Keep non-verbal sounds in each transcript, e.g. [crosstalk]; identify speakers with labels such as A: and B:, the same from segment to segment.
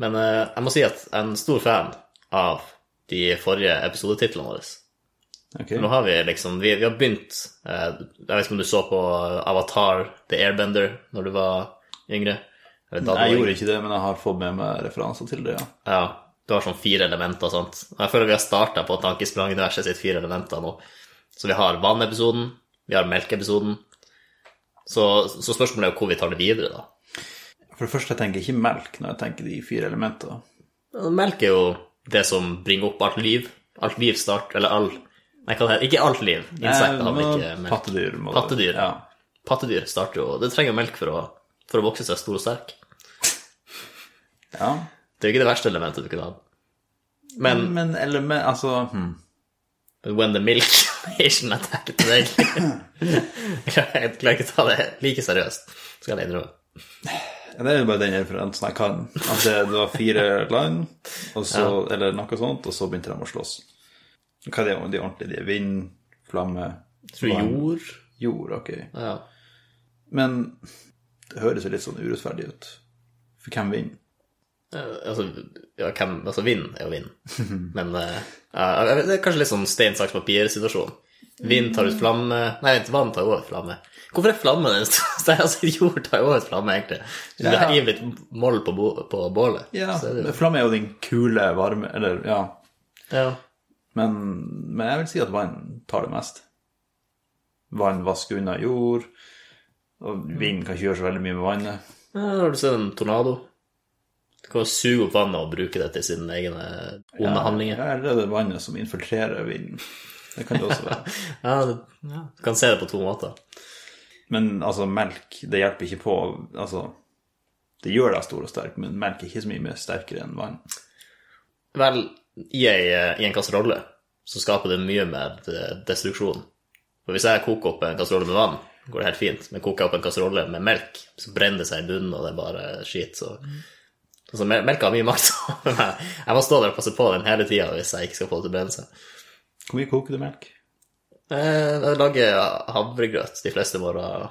A: Men eh, jeg må si at jeg er en stor fan av de forrige episodetitlene våre.
B: Ok.
A: Nå har vi liksom Vi, vi har begynt eh, Jeg vet ikke om du så på Avatar, The Airbender, når du var yngre? Eller da du var
B: Jeg
A: yngre.
B: gjorde ikke det, men jeg har fått med meg referanser til det, ja.
A: Ja, du har sånn fire elementer og sånt. Og jeg føler vi har starta på Tankesprang-universet sitt fire elementer nå. Så vi har vannepisoden, vi har melkeepisoden. Så, så spørsmålet er jo hvor vi tar det videre, da.
B: For det første, jeg tenker ikke melk når jeg tenker de fire elementene.
A: Melk er jo det som bringer opp alt liv. Alt liv start, eller all Nei, hva det heter Ikke alt liv. Insekter har vel ikke melk.
B: Pattedyr. må det-
A: Pattedyr.
B: Ja.
A: Pattedyr starter jo Det trenger jo melk for å, for å vokse seg stor og sterk.
B: ja.
A: Det er jo ikke det verste elementet du kunne hatt. Men
B: Men element, altså hmm.
A: When the milk [laughs] nation attacked the [laughs] egg. Jeg klarer ikke å ta det like seriøst, skal jeg innrømme.
B: Ja, Det er jo bare den referansen jeg kan. At det, det var fire
A: [laughs]
B: land, og så, eller noe sånt, og så begynte de å slåss. Hva er det de ordentlige? De er vind, flamme,
A: Jeg tror jord
B: jord, ok.
A: ja.
B: Men det høres jo litt sånn urettferdig ut. For hvem vinner?
A: Eh, Altså, ja, hvem, altså vind er jo
B: [laughs]
A: vind. Men eh, ja, jeg vet- det er kanskje litt sånn stein, saks, papir-situasjon. Vind tar ut flamme Nei, vent, vann tar jo over flamme. Hvorfor er flamme den [laughs] største? Altså, jord tar jo over flamme, egentlig. Hvis du
B: Ja.
A: hiver litt moll på, bo- på bålet,
B: Ja,
A: så er det jo
B: men flamme er jo den kule, varme, eller ja.
A: ja.
B: Men, men jeg vil si at vann tar det mest. Vann vasker unna jord, og vind kan ikke gjøre så veldig mye med vannet.
A: Ja, Har du sett en tornado? Du kan jo suge opp vannet og bruke det til sine egne onde handlinger.
B: Ja, eller det er vannet som infiltrerer vinden. Det kan det også være.
A: Ja, det, ja. Du kan se det på to måter.
B: Men altså, melk, det hjelper ikke på Altså, det gjør deg stor og sterk, men melk er ikke så mye mer sterkere enn vann.
A: Vel, i ei, eh, i en kasserolle så skaper det mye mer eh, destruksjon. For hvis jeg koker opp en kasserolle med vann, går det helt fint. Men koker jeg opp en kasserolle med melk, så brenner det seg i bunnen, og det er bare skit. Så altså, mel- melka har mye makt [laughs] over meg. Jeg må stå der og passe på den hele tida hvis jeg ikke skal få det til å brenne seg.
B: Hvor mye koker du melk?
A: Eh, Jeg lager havregrøt de fleste morgener,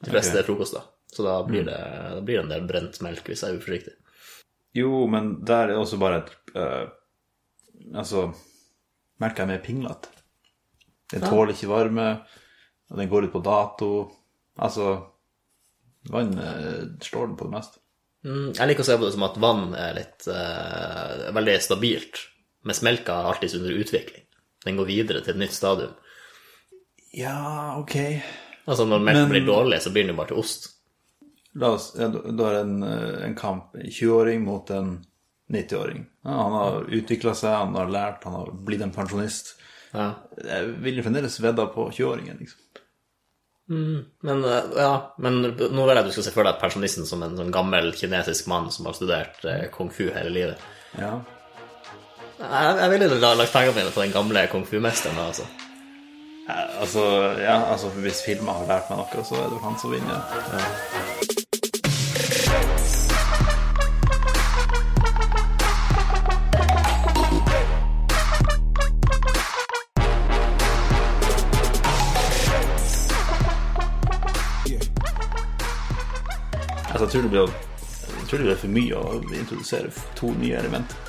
A: de fleste
B: Ok.
A: frokoster. Så da blir, det, da blir det en del brent melk hvis jeg er uforsiktig.
B: Jo, men der er det også bare et eh, Altså, melka er mer pinglete. Den tåler ikke varme, og den går ut på dato. Altså, vann eh, slår den på det meste.
A: Mm, Jeg liker å se på det som at vann er litt eh, veldig stabilt, mens melka er alltid under utvikling. Den går videre til et nytt stadium.
B: Ja, ok.
A: Altså når melk
B: Men-
A: blir dårlig, så blir den jo bare til ost.
B: La oss, ja, du du har en, eh, en kamp, en 20-åring mot en 90-åring. Ja, han har utvikla seg, han har lært, han har blitt en pensjonist.
A: Ja.
B: Jeg ville fremdeles vedda på 20-åringen, liksom.
A: Men, eh, ja, men nå vil jeg at du skal se for deg pensjonisten som en sånn gammel kinesisk mann som har studert eh, kung fu hele livet.
B: Ja.
A: Jeg, jeg ville la- lagt pengene mine på den gamle kung fu-mesteren. da, altså.
B: Eh, Altså, ja, altså, hvis filmer har lært meg noe, så er det han som vinner. Altså, jeg tror det blir, jeg tror det blir for mye å introdusere to nye elementer.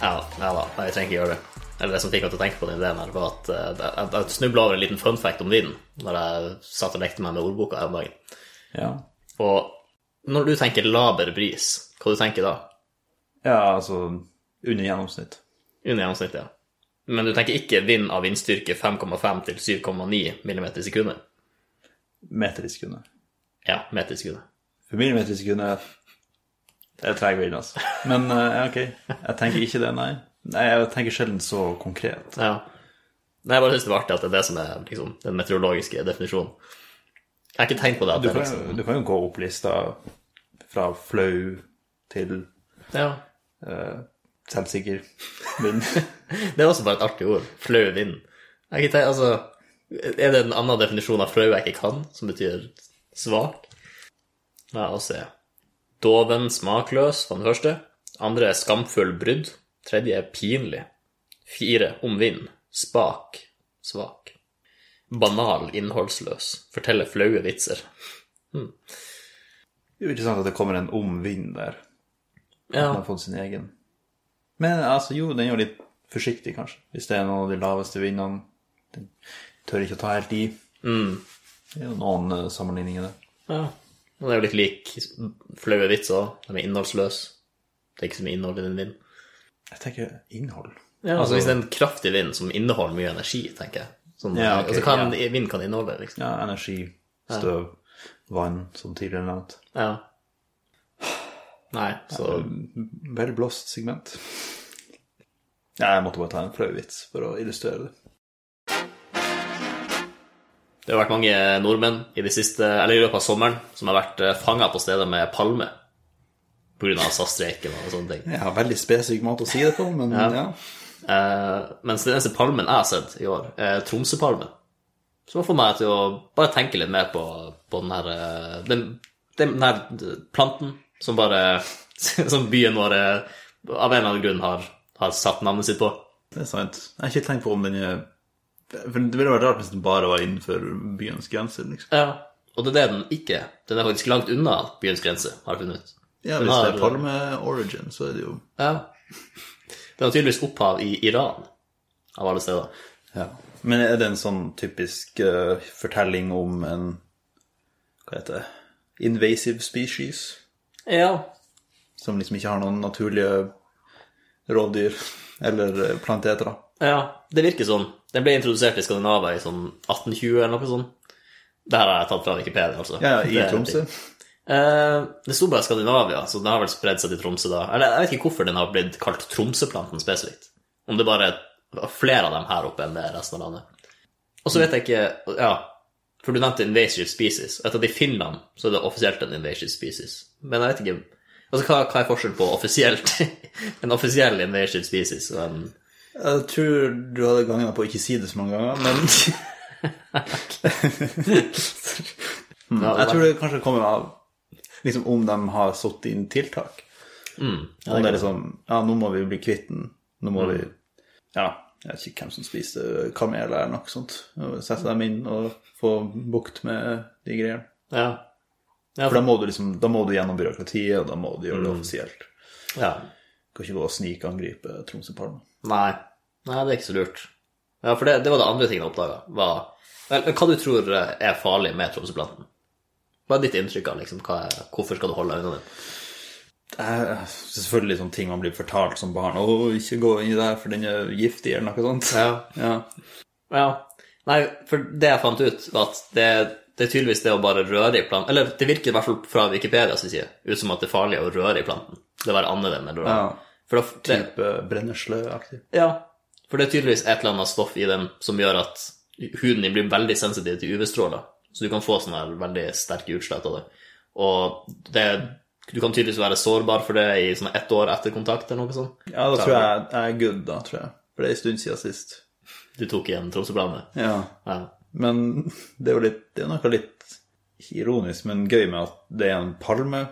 A: Ja, ja da, nei, jeg trenger ikke gjøre det. Eller Det som fikk meg til å tenke på den ideen, her, var at eh, jeg, jeg snubla over en liten fun fact om vind når jeg satt og lekte meg med ordboka her om dagen.
B: Ja.
A: Og når du tenker laber bris, hva du tenker da?
B: ja, altså under gjennomsnitt.
A: Under gjennomsnittet, ja. Men du tenker ikke vind av vindstyrke 5,5 til 7,9 millimeter i sekundet?
B: Meter i sekundet.
A: Ja, meter i sekundet.
B: For millimeter i sekundet Det er treg vind, altså. Men eh, ja, ok, jeg tenker ikke det, nei. Nei, Jeg tenker sjelden så konkret.
A: Ja. Nei, jeg bare syns det var artig at det er det som er liksom, den meteorologiske definisjonen. Jeg har ikke tenkt på det. at
B: Du
A: det er
B: kan,
A: liksom...
B: jo- du kan jo gå opp lista fra flau til
A: Ja.
B: eh, selvsikker.
A: [laughs]
B: Men
A: Det er også bare et artig ord. Flau vind. Jeg kan ikke tenke, altså, er det en annen definisjon av flau jeg ikke kan, som betyr svak? La oss se. Doven smakløs, var den første. Andre er skamfull brydd. Tredje er pinlig. Fire om vind. Spak. Svak. Banal innholdsløs. Forteller flaue vitser.
B: det er jo ikke sant at det kommer en om vind der. At man
A: Ja.
B: har fått sin egen. Men altså, jo, den er jo litt forsiktig, kanskje. Hvis det er noen av de laveste vindene. Den tør ikke å ta helt i.
A: Mm.
B: Det er jo noen eh, sammenligninger der.
A: ja. Og det er jo litt lik flaue vitser òg. De er innholdsløse. Det er ikke så mye innhold i den vinden.
B: Jeg tenker innhold.
A: altså hvis det er en kraftig vind som inneholder mye energi, tenker jeg. Sånn,
B: Ja, ok,
A: altså, kan, Vind kan inneholde, liksom.
B: Ja, energi, støv, vann, som tidligere nevnt.
A: Ja. Nei, så
B: Vel blåst segment. Ja, jeg måtte bare ta en flau vits for å illustrere det.
A: Det har vært mange nordmenn i, de siste, eller i løpet av sommeren som har vært fanga på stedet med palme pga. SAS-streiken og sånne ting.
B: Jeg har veldig spesifikk måte å si det på, men ja.
A: Eh, mens den eneste palmen jeg har sett i år, er Tromsøpalmen. Som har fått meg til å bare tenke litt mer på, på den her eh, den, den her planten som bare [laughs] Som byen vår eh, av en eller annen grunn har, har satt navnet sitt på.
B: Det er sant. Jeg har ikke tenkt på om den er For det ville vært rart hvis den bare var innenfor byens grenser, liksom.
A: Ja. Og det er det den ikke er. Den er faktisk langt unna byens grense, har jeg funnet ut.
B: Ja,
A: Den
B: hvis det
A: har-
B: er palme-origin, så er det jo
A: Ja. [laughs] Den har tydeligvis opphav i Iran, av alle steder.
B: Ja. Men er det en sånn typisk eh, fortelling om en Hva heter det? Invasive species?
A: Ja.
B: Som liksom ikke har noen naturlige rovdyr [laughs] eller eh, planteter, da.
A: ja. Det virker sånn. Den ble introdusert i Skandinavia i sånn 1820 eller noe sånt. Det her har jeg tatt fra Wikipedia, altså.
B: Ja, ja,
A: Det
B: i
A: er-
B: Tromsø.
A: Eh, det sto bare Skandinavia, så den har vel spredd seg til Tromsø da. Eller jeg vet ikke hvorfor den har blitt kalt Tromsøplanten spesifikt. Om det bare var flere av dem her oppe enn det er resten av landet. Og så vet jeg ikke Ja, for du nevnte invasive species. Og Etter at i Finland så er det offisielt en invasive species. Men jeg vet ikke Altså, hva, hva er forskjellen på offisielt [laughs] En offisiell invasive species og en
B: Jeg tror du hadde gagna på å ikke si det så mange ganger, [laughs] men Mm. jeg tror det kanskje kommer av liksom, om de har satt inn tiltak. om det er liksom Ja, nå må vi bli kvitt den. Nå må vi Ja, jeg vet ikke hvem som spiste kamel eller noe sånt. og Sette dem inn og få bukt med de greiene.
A: Ja.
B: For da må du liksom Da må du gjennom byråkratiet, og da må du gjøre det offisielt.
A: ja.
B: Du kan ikke gå og snikangripe Tromsø-Palma.
A: Nei. Nei, det er ikke så lurt. Ja, for det, det var det andre tingen jeg oppdaga. Vel, hva du tror er farlig med Tromsøplanten? Hva er ditt inntrykk av liksom, hva er, hvorfor skal du holde deg unna den?
B: Eh, Selvfølgelig sånne ting man blir fortalt som barn. 'Å, ikke gå inn i det her, for den er giftig', eller noe sånt.
A: Ja.
B: Ja.
A: ja. Nei, for det jeg fant ut, var at det, det er tydeligvis det å bare røre i planten Eller det virker i hvert fall fra Wikipedia sin side ut som at det er farlig å røre i planten. Det å være annerledes enn å røre.
B: Ja.
A: For da, det,
B: Type brennesløaktig.
A: ja. For det er tydeligvis et eller annet stoff i den som gjør at huden din blir veldig sensitiv til UV-stråler. Så du kan få sånne her veldig sterke utslett av det. Og det, du kan tydeligvis være sårbar for det i sånn ett år etter kontakt eller noe sånt.
B: Ja, da tror jeg jeg er good, da, tror jeg. For det er en stund siden sist.
A: Du tok igjen Tromsøbladet.
B: Ja.
A: Ja.
B: Men det er jo litt, det er noe litt ironisk, men gøy med at det er en palme,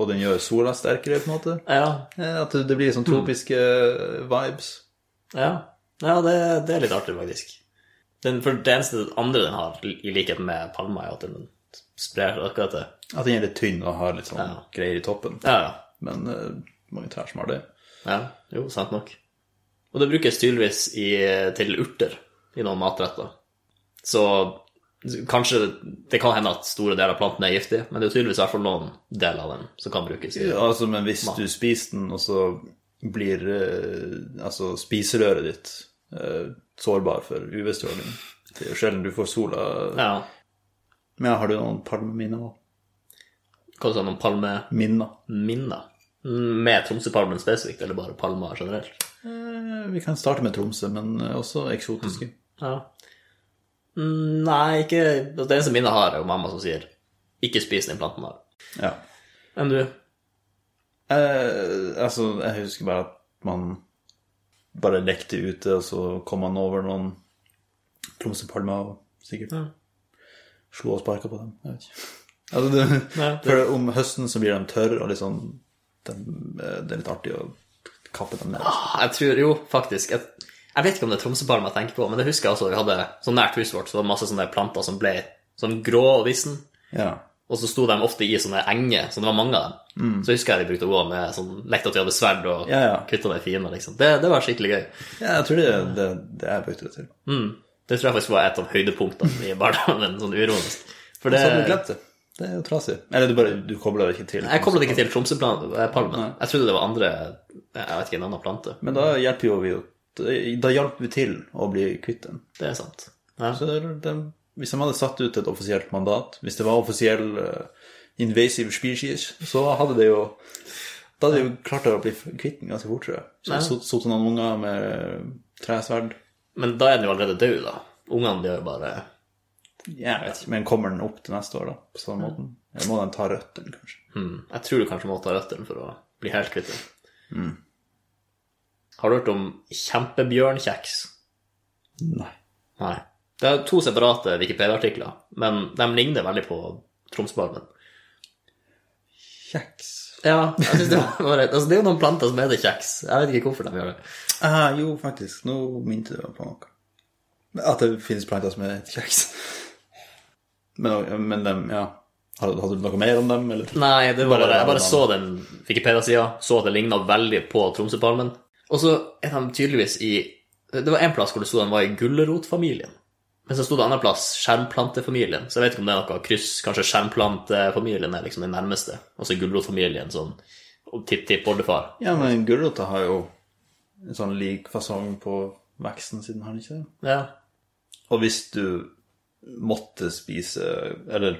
B: og den gjør sola sterkere, på en måte.
A: Ja.
B: Eh, At det blir sånn tropiske vibes.
A: Ja, ja det, det er litt artig, faktisk. Den, for det eneste andre den har, i likhet med palma, er at den sprer akkurat det.
B: At den er litt tynn og har litt sånn
A: Ja.
B: greier i toppen.
A: Ja, ja.
B: Men eh, mange trær som har det.
A: Ja, jo, sant nok. Og det brukes tydeligvis i, til urter i noen matretter. Så kanskje det kan hende at store deler av planten er giftig, men det er jo tydeligvis i hvert fall noen deler av den som kan brukes. i
B: Ja, altså, men hvis du spiser den, og så blir eh, altså spiserøret ditt eh, sårbar for UV-stråling Det er jo sjelden du får sola
A: Ja,
B: Men har du noen palmeminner? da?
A: Hva sa du om
B: Minner?
A: palmeminner? Med Tromsøpalmen spesifikt, eller bare palmer generelt?
B: Eh, Vi kan starte med Tromsø, men eh, også eksotiske.
A: Ja. Mm, Nei, ikke Det eneste minnet jeg har, er jo mamma som sier 'ikke spis den planten her'.
B: Ja.
A: Enn du?
B: Eh, altså, jeg husker bare at man bare lekte ute, og så kom man over noen Tromsøpalmer og sikkert
A: Ja.
B: slo og sparka på dem. Jeg vet ikke. [laughs] Altså, det,
A: Nei, det-
B: For om høsten så blir de tørre, og liksom de, eh, Det er litt artig å kappe dem ned.
A: Ah, Jeg tror jo faktisk jeg, jeg vet ikke om det er Tromsøpalmen jeg tenker på, men det husker jeg også. Vi hadde så nært huset vårt, så var det masse sånne planter som ble sånn grå og sånn vissen.
B: Ja.
A: Og så sto de ofte i sånne enger, så det var mange av dem. Så husker jeg de brukte å gå med sånn lekte at de hadde sverd og
B: Mm. Ja, ja.
A: kutta de fiender, liksom. Det, det var skikkelig gøy.
B: Ja, jeg tror det er det, det jeg brukte det til.
A: Mm. Det tror jeg faktisk var et av høydepunktene i barndommen, sånn uironisk. For
B: Så hadde du
A: det
B: glemt det. Det er jo trasig. Eller du bare du kobler det ikke til.
A: Jeg koblet ikke til Tromsø-palmen. Jeg trodde det var andre Jeg vet ikke, en annen plante.
B: Men da hjelper jo vi jo Da hjalp vi til å bli kvitt den.
A: Det er sant. Ja.
B: Så det, det, hvis de hadde satt ut et offisielt mandat, hvis det var offisiell eh, invasive species, så hadde det jo Da hadde de jo klart å bli kvitt den ganske fort, tror jeg. Så
A: Nei.
B: sot- Sottet noen unger med tresverd.
A: Men da er den jo allerede død, da. Ungene de har jo bare
B: Jeg vet ikke, men kommer den opp til neste år, da? På samme måten? Eller må den ta røttene, kanskje?
A: hmm. Jeg tror du kanskje må ta røttene for å bli helt kvitt den. Hmm. Har du hørt om kjempebjørnkjeks?
B: Nei.
A: Nei. Det er to separate Wikipedia-artikler, men de ligner veldig på Tromsøpalmen.
B: Kjeks.
A: Ja, jeg synes det var rett. Altså, det er jo noen planter som heter kjeks. Jeg vet ikke hvorfor de gjør det.
B: Ah, jo, faktisk. Nå minte du meg på noe. At det finnes planter som er kjeks. Men, men dem, ja. Hadde, hadde du noe mer om dem, eller?
A: Nei, det var
B: Bare
A: bare, jeg bare
B: navnet.
A: så den Wikipedia-sida, så at det ligna veldig på Tromsøpalmen. Og så er de tydeligvis i Det var en plass hvor det sto de var i gulrotfamilien. Men så sto det en annen plass skjermplantefamilien. Så jeg vet ikke om det er noe kryss. Kanskje skjermplantefamilien er liksom den nærmeste. Altså gulrotfamilien sånn tipp-tipp-oldefar.
B: Ja, men gulrota har jo en sånn lik fasong på veksten siden han ikke det.
A: Ja.
B: Og hvis du måtte spise Eller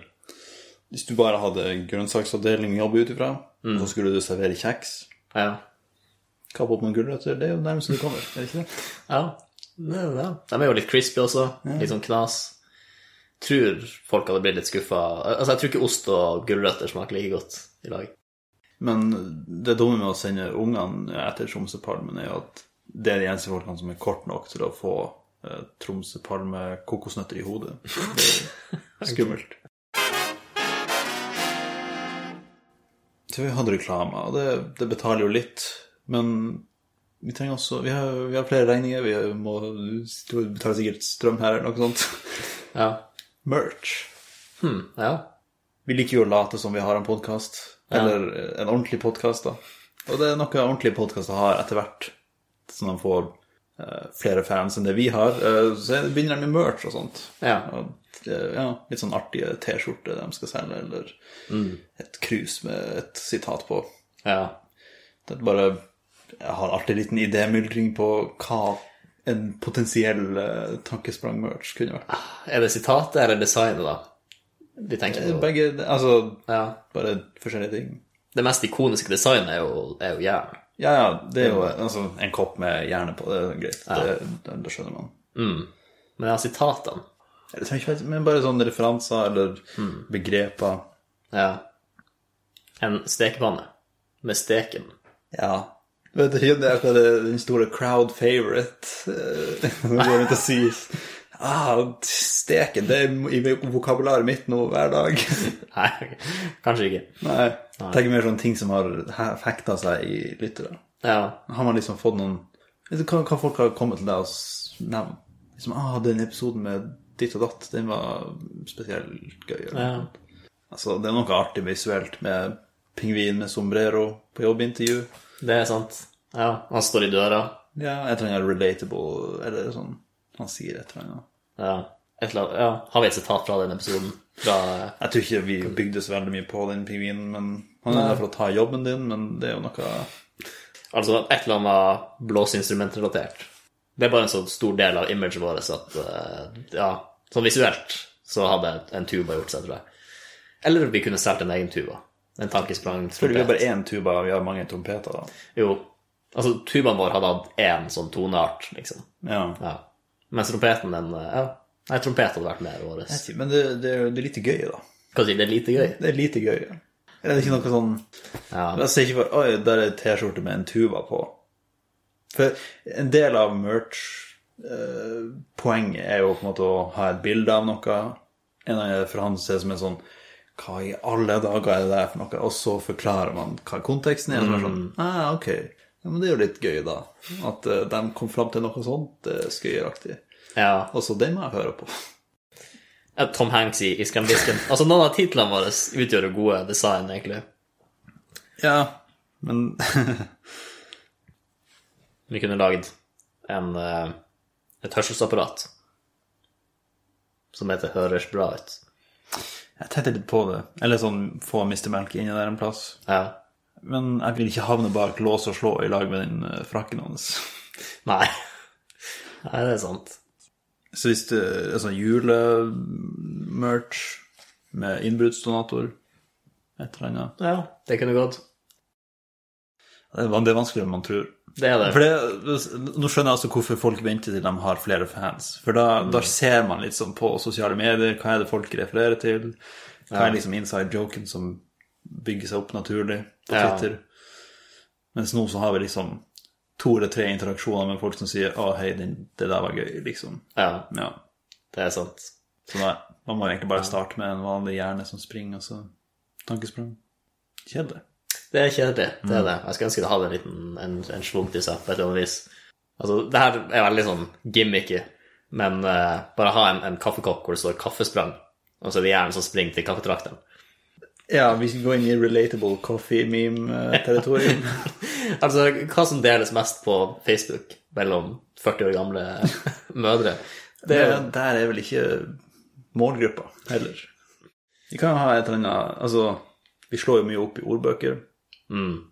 B: hvis du bare hadde grønnsaksavdeling å jobbe ut ifra, så skulle du servere kjeks.
A: Ja.
B: Kapp opp noen gulrøtter. Det er jo nærmest du kommer, er det ikke det?
A: ja. Det er det. De er jo litt crispy også. Litt sånn knas. Tror folk hadde blitt litt skuffa. Altså, jeg tror ikke ost og gulrøtter smaker like godt i dag.
B: Men det dumme med å sende ungene etter Tromsøpalmen er jo at det er de eneste folkene som er kort nok til å få eh, Tromsøpalme-kokosnøtter i hodet. Det er skummelt. Så vi hadde reklame, og det, det betaler jo litt. Men vi trenger også Vi har, vi har flere regninger. Vi må betale sikkert strøm her eller noe sånt. [laughs]
A: Ja.
B: Merch.
A: Hmm, ja.
B: Vi liker jo å late som vi har en podkast, eller eh, en ordentlig podkast, da. Og det er noe ordentlige podkaster har etter hvert, så de får eh, flere fans enn det vi har. eh, så begynner de med merch og sånt.
A: Ja.
B: Og, eh, ja, litt sånn artige T-skjorter de skal selge, eller et krus med et sitat på.
A: Ja.
B: Det er bare Jeg har alltid en liten idémyldring på hva en potensiell eh, tankesprang-merch kunne vært.
A: Er det sitatet eller designet, da? Vi tenker på
B: Begge Altså,
A: ja.
B: bare forskjellige ting.
A: Det mest ikoniske designet er jo, er jo jern.
B: Ja, ja, det er jo altså, en kopp med hjerne på, det er greit. Det, det, det skjønner man.
A: Men ja, sitatene
B: Eller, tenk, vet- men bare sånne referanser eller begreper.
A: ja. En stekepanne med steken. [laughs]
B: Ja. Vet du, det er akkurat det- den store crowd favorite. [laughs] eh, Når man går rundt og sier ah, Steken, det er i vokabularet mitt nå hver dag. [laughs]
A: Nei, kanskje ikke.
B: Nei. Tenk mer sånne ting som har fekta seg i lyttere.
A: Ja.
B: Har man liksom fått noen Vet du hva, hva folk har kommet til deg og s- nevnt? Liksom, ah, den episoden med ditt og datt, den var spesielt gøy. eller?
A: ja.
B: Altså, det er noe artig visuelt med pingvin med sombrero på jobbintervju.
A: Det er sant. Ja. Han står i døra.
B: Ja, et eller annet relatable, eller sånn. Han sier et eller annet.
A: Ja. Et eller annet. Ja. Har vi et sitat fra den episoden? Fra eh,
B: Jeg tror ikke vi bygde så veldig mye på den pingvinen, men han er der for å ta jobben din, men det er jo noe
A: Altså et eller annet blåseinstrumentrelatert. Det er bare en så stor del av imaget vårt at eh, ja, sånn visuelt så hadde en tuba gjort seg, tror jeg. Eller vi kunne solgt en egen tuba. En tankesprang
B: Fordi vi har
A: trompet.
B: bare én tuba, og vi har mange trompeter, da.
A: Jo. Altså, tubaen vår hadde hatt én sånn toneart, liksom.
B: Ja.
A: Ja. Mens trompeten, den eh, Ja. Nei, trompet hadde vært mer vår. Hva
B: Men det, det, er jo- det er lite gøy, da.
A: sier det er lite gøy?
B: Det er lite gøy. Ja. Er det ikke noe sånn
A: Ja.
B: Jeg ser ikke for Oi, der er ei T-skjorte med en tuba på. For en del av merch-poenget er jo på en måte å ha et bilde av noe. En av for han ser som en sånn Hva i alle dager er det der for noe? Og så forklarer man hva konteksten er. Og så er det sånn ah, ok. Ja, men det er jo litt gøy, da. At eh, de kom fram til noe sånt eh, skøyeraktig.
A: ja.
B: Og så det må jeg høre på.
A: eh, Tom Hanks i, i Skremdisken. Altså, noen av titlene våre utgjør jo gode design, egentlig.
B: Ja, men
A: Vi kunne lagd en, eh, et hørselsapparat som heter 'Høres bra ut'.
B: jeg tenkte litt på det. Eller sånn få Mr. Melk inni der en plass.
A: Ja.
B: Men jeg vil ikke havne bak lås og slå i lag med den eh, frakken hans.
A: Nei. [laughs] Nei, det er sant.
B: Så hvis det er sånn julemerch med innbruddsdonator, et eller annet
A: Ja, det kunne gått.
B: Det er van- det er vanskeligere enn man tror.
A: Det er det.
B: For det, Nå skjønner jeg altså hvorfor folk venter til de har flere fans. For da, da ser man litt sånn på sosiale medier hva er det folk refererer til. Hva er liksom inside joken som bygger seg opp naturlig på
A: Ja.
B: Twitter. Mens nå så har vi liksom to eller tre interaksjoner med folk som sier 'Å, hei, den, det der var gøy', liksom.
A: Ja,
B: Ja.
A: det er sant.
B: Så da, man må egentlig bare starte med en vanlig hjerne som springer, og så tankesprang. Kjedelig.
A: Det er kjedelig. Det er det. Jeg skulle ønske det hadde en liten en, en svungt i seg på et eller annet vis. Altså, det her er veldig sånn gimmicky, men eh, bare ha en, en kaffekopp hvor det står 'kaffesprang', og så er det hjernen som springer til kaffetrakteren.
B: Ja, vi skal gå inn i relatable eh, coffee meme-territorium.
A: Altså, hva som deles mest på Facebook mellom 40 år gamle mødre?
B: Det, der er vel ikke målgruppa heller. Vi kan ha et eller annet Altså, vi slår jo mye opp i ordbøker. Mm.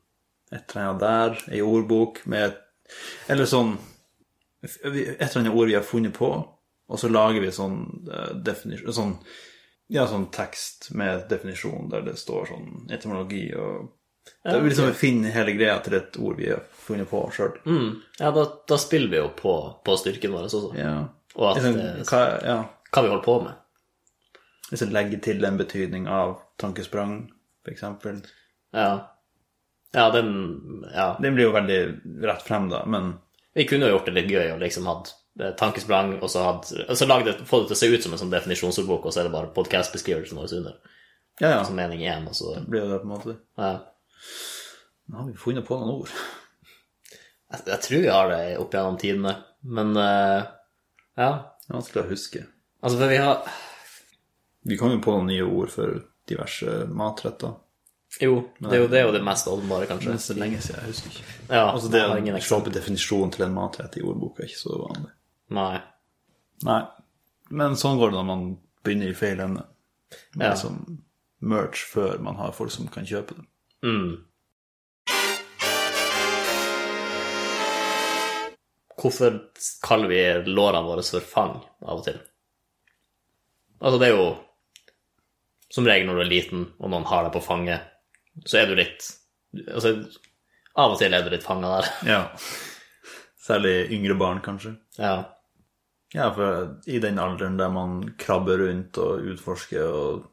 B: Et eller annet der, ei ordbok med Eller sånn Et eller annet ord vi har funnet på, og så lager vi sånn eh, definisjon sånn, Ja, sånn tekst med definisjon der det står sånn etymologi og Da vil vi liksom finne hele greia til et ord vi har funnet på sjøl.
A: Mm. Ja, da, da spiller vi jo på, på styrken vår også,
B: Ja.
A: og at
B: Liksom,
A: eh,
B: hva, ja.
A: hva vi holder på med.
B: Hvis jeg legger til en betydning av tankesprang, f.eks.
A: Ja. Ja, den Ja.
B: Den blir jo veldig rett frem, da, men
A: Vi kunne jo gjort det litt gøy og liksom hatt eh, tankesprang, og så, hatt, og så lagd det, få det til å se ut som en sånn definisjonsordbok, og så er det bare podcast-beskrivelsen vår under.
B: ja, ja.
A: Altså mening én, og så
B: Blir jo det på en måte.
A: ja.
B: Nå har vi funnet på noen ord.
A: jeg, jeg tror vi har det opp gjennom tidene, men eh, ja.
B: Det er vanskelig å huske.
A: Altså, for vi har
B: Vi kom jo på noen nye ord for diverse matretter.
A: Jo, det er jo det, er jo det mest åpenbare, kanskje.
B: Det er så lenge siden, jeg husker ikke.
A: Ja,
B: Altså det
A: jeg har ingen
B: å
A: eksempel.
B: slå på definisjonen til en matrett i ordboka er ikke så vanlig.
A: Nei.
B: Nei. Men sånn går det når man begynner i feil ende. Med
A: Ja.
B: liksom merch før man har folk som kan kjøpe det.
A: Mm. Hvorfor kaller vi lårene våre for fang av og til? Altså, det er jo Som regel når du er liten, og noen har deg på fanget, så er du litt Altså, av og til er du litt fanga der. [laughs]
B: Ja. Særlig yngre barn, kanskje.
A: Ja.
B: Ja, for i den alderen der man krabber rundt og utforsker og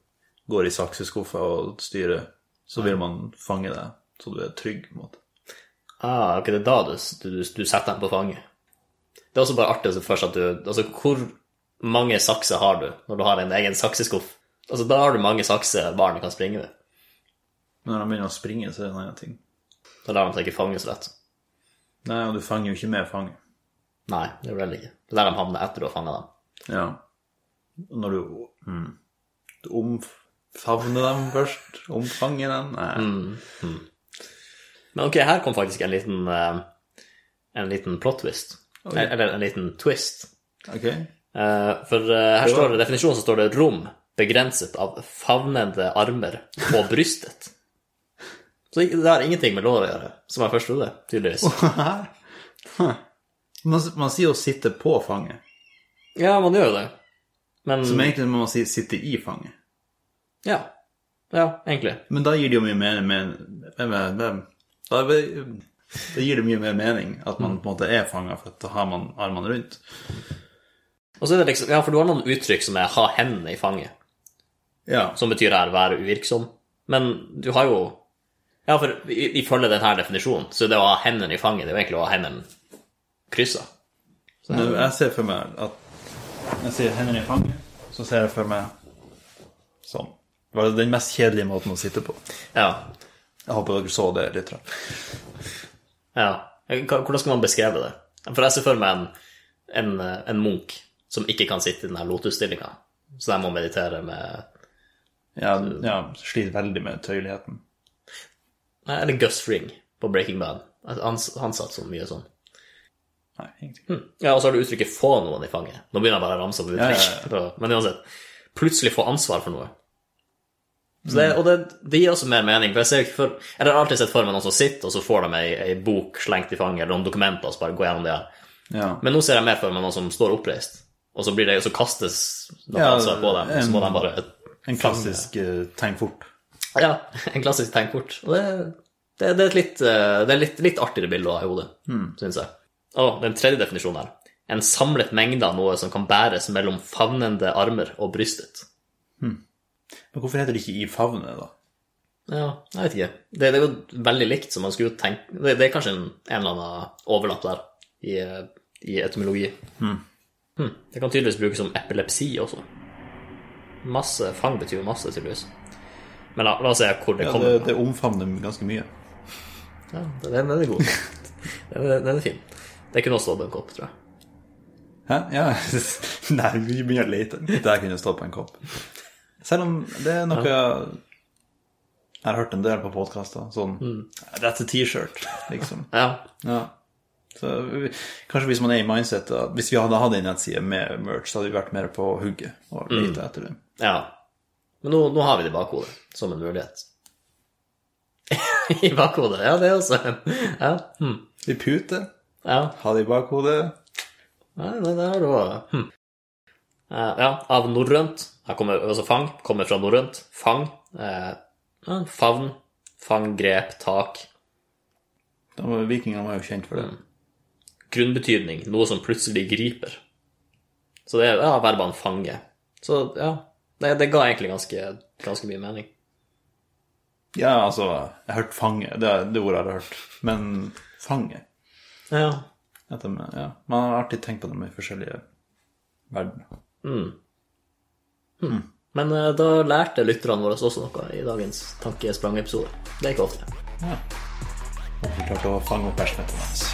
B: går i sakseskuffer og styrer, så vil man fange deg, så du er trygg. på en måte.
A: Ah, ok, det er da du, du, du setter dem på fanget. Det er også bare artig å se først at du Altså, hvor mange sakser har du når du har en egen sakseskuff? Altså, da har du mange sakser barnet kan springe med.
B: Men når de begynner å springe, så er det en annen ting.
A: Da lar de seg ikke fange så lett.
B: Nei, og du fanger jo ikke med fanget.
A: Nei, det gjør det heller ikke. Det er der de havner etter du har fanga dem.
B: Ja. Og Når du, mm, du omfavner dem først, omfanger dem Nei.
A: Men ok, her kom faktisk en liten, eh, en liten plot twist. Eller en liten twist.
B: Ok?
A: Eh, For eh, her står det definisjonen, så står det 'rom begrenset av favnende armer og [laughs] brystet'. Så ikke- det har ingenting med lår å gjøre, som jeg først trodde, tydeligvis.
B: Man, man sier å sitte på fanget,
A: [laughs] Ja, man gjør jo det. Men
B: som egentlig må man si sitte i fanget.
A: ja. ja, egentlig.
B: Men da gir det jo mye mening men, men, men, men, da, da gir det mye mer mening at man på en måte er fanga, for at da har man armene rundt.
A: Og så er det liksom, ja, for du har noen uttrykk som er 'ha hendene i fanget'.
B: Ja.
A: som betyr her være uvirksom. Men du har jo Ja, for i- ifølge denne definisjonen, så det å ha hendene i fanget, det er jo egentlig å ha hendene kryssa.
B: Så når jeg ser for meg at jeg sier hendene i fanget, så ser jeg for meg sånn. Det var den mest kjedelige måten å sitte på.
A: Ja.
B: Jeg håper dere så det litt.
A: ja. Hva- Hvordan skal man beskrive det? For jeg ser for meg en, en, en munk som ikke kan sitte i den her lotusstillinga. Så de må meditere med
B: Ja, ja sliter veldig med tøyeligheten.
A: Nei, eller Gus Fring på Breaking Bad. Altså, Han, han satt så mye sånn.
B: Nei, ingenting.
A: Ja, og så har du uttrykket 'få noen i fanget'. Nå begynner jeg bare å ramse opp uttrykk. [laughs] Men uansett. Plutselig få ansvar for noe. Så det, og det, det gir også mer mening. for Jeg ser jo ikke for, eller jeg har alltid sett for meg noen som sitter, og så får de ei, ei bok slengt i fanget, eller noen dokumenter, og så bare går gjennom det her.
B: Ja.
A: Men nå ser jeg mer for meg noen som står oppreist, og så, blir det, så kastes noe
B: Ja,
A: ansvar på dem, og så må de bare
B: En klassisk eh, tegn fort.
A: Ja, en klassisk tegnkort. Og det, det, det er et litt, eh, det er litt, litt artigere bilde å ha i hodet,
B: Hmm.
A: syns jeg. Og den tredje definisjonen her. En samlet mengde av noe som kan bæres mellom favnende armer og brystet.
B: Men hvorfor heter det ikke i favnet, da?
A: Ja, jeg vet ikke. Det, det er jo veldig likt, så man skulle jo tenke Det, det er kanskje en, en eller annen overlapp der i, eh, i etymologi. Hmm. Det kan tydeligvis brukes som epilepsi også. Masse fang betyr jo masse, tydeligvis. Men la, la oss se hvor det
B: Ja,
A: kommer
B: det, det omfavner ganske mye.
A: Ja, den, den er god. [laughs] Den, er- den er fin. Det kunne også stått på en kopp, tror jeg.
B: Hæ? Ja. [laughs] Nei, vi begynner å lete. Der kunne det stått på en kopp. Selv om det er noe jeg har hørt en del på podkaster. Sånn That's a T-shirt, liksom.
A: Ja,
B: Ja. Så vi, kanskje hvis man er i mindset at Hvis vi hadde hatt en nettside med merch, så hadde vi vært mer på hugget og lite etter det.
A: ja. Men nå, nå har vi det i bakhodet, som en mulighet. [laughs] I bakhodet, ja, det er også en Ja. Hm.
B: Vi puter,
A: ja.
B: ha det i bakhodet.
A: Nei, det der var hm. Eh, Ja, av norrønt. Her kommer altså fang. Kommer fra norrønt. Fang. Eh, ja, favn. Fang, grep, tak.
B: Da var- Vikingene var jo kjent for det.
A: grunnbetydning, noe som plutselig griper. Så det er ja, verbene fange. Så ja, det, det ga egentlig ganske, ganske mye mening.
B: Ja, altså Jeg har hørt fange, det er det ordet jeg har hørt. Men fange
A: Ja.
B: at de, ja. Man har alltid tenkt på dem i forskjellige verdener.
A: Men eh, da lærte lytterne våre også noe i dagens Tankesprang-episode. Det er ikke ofte.
B: Ja. Og vi klarte å fange opp persmøtet hans.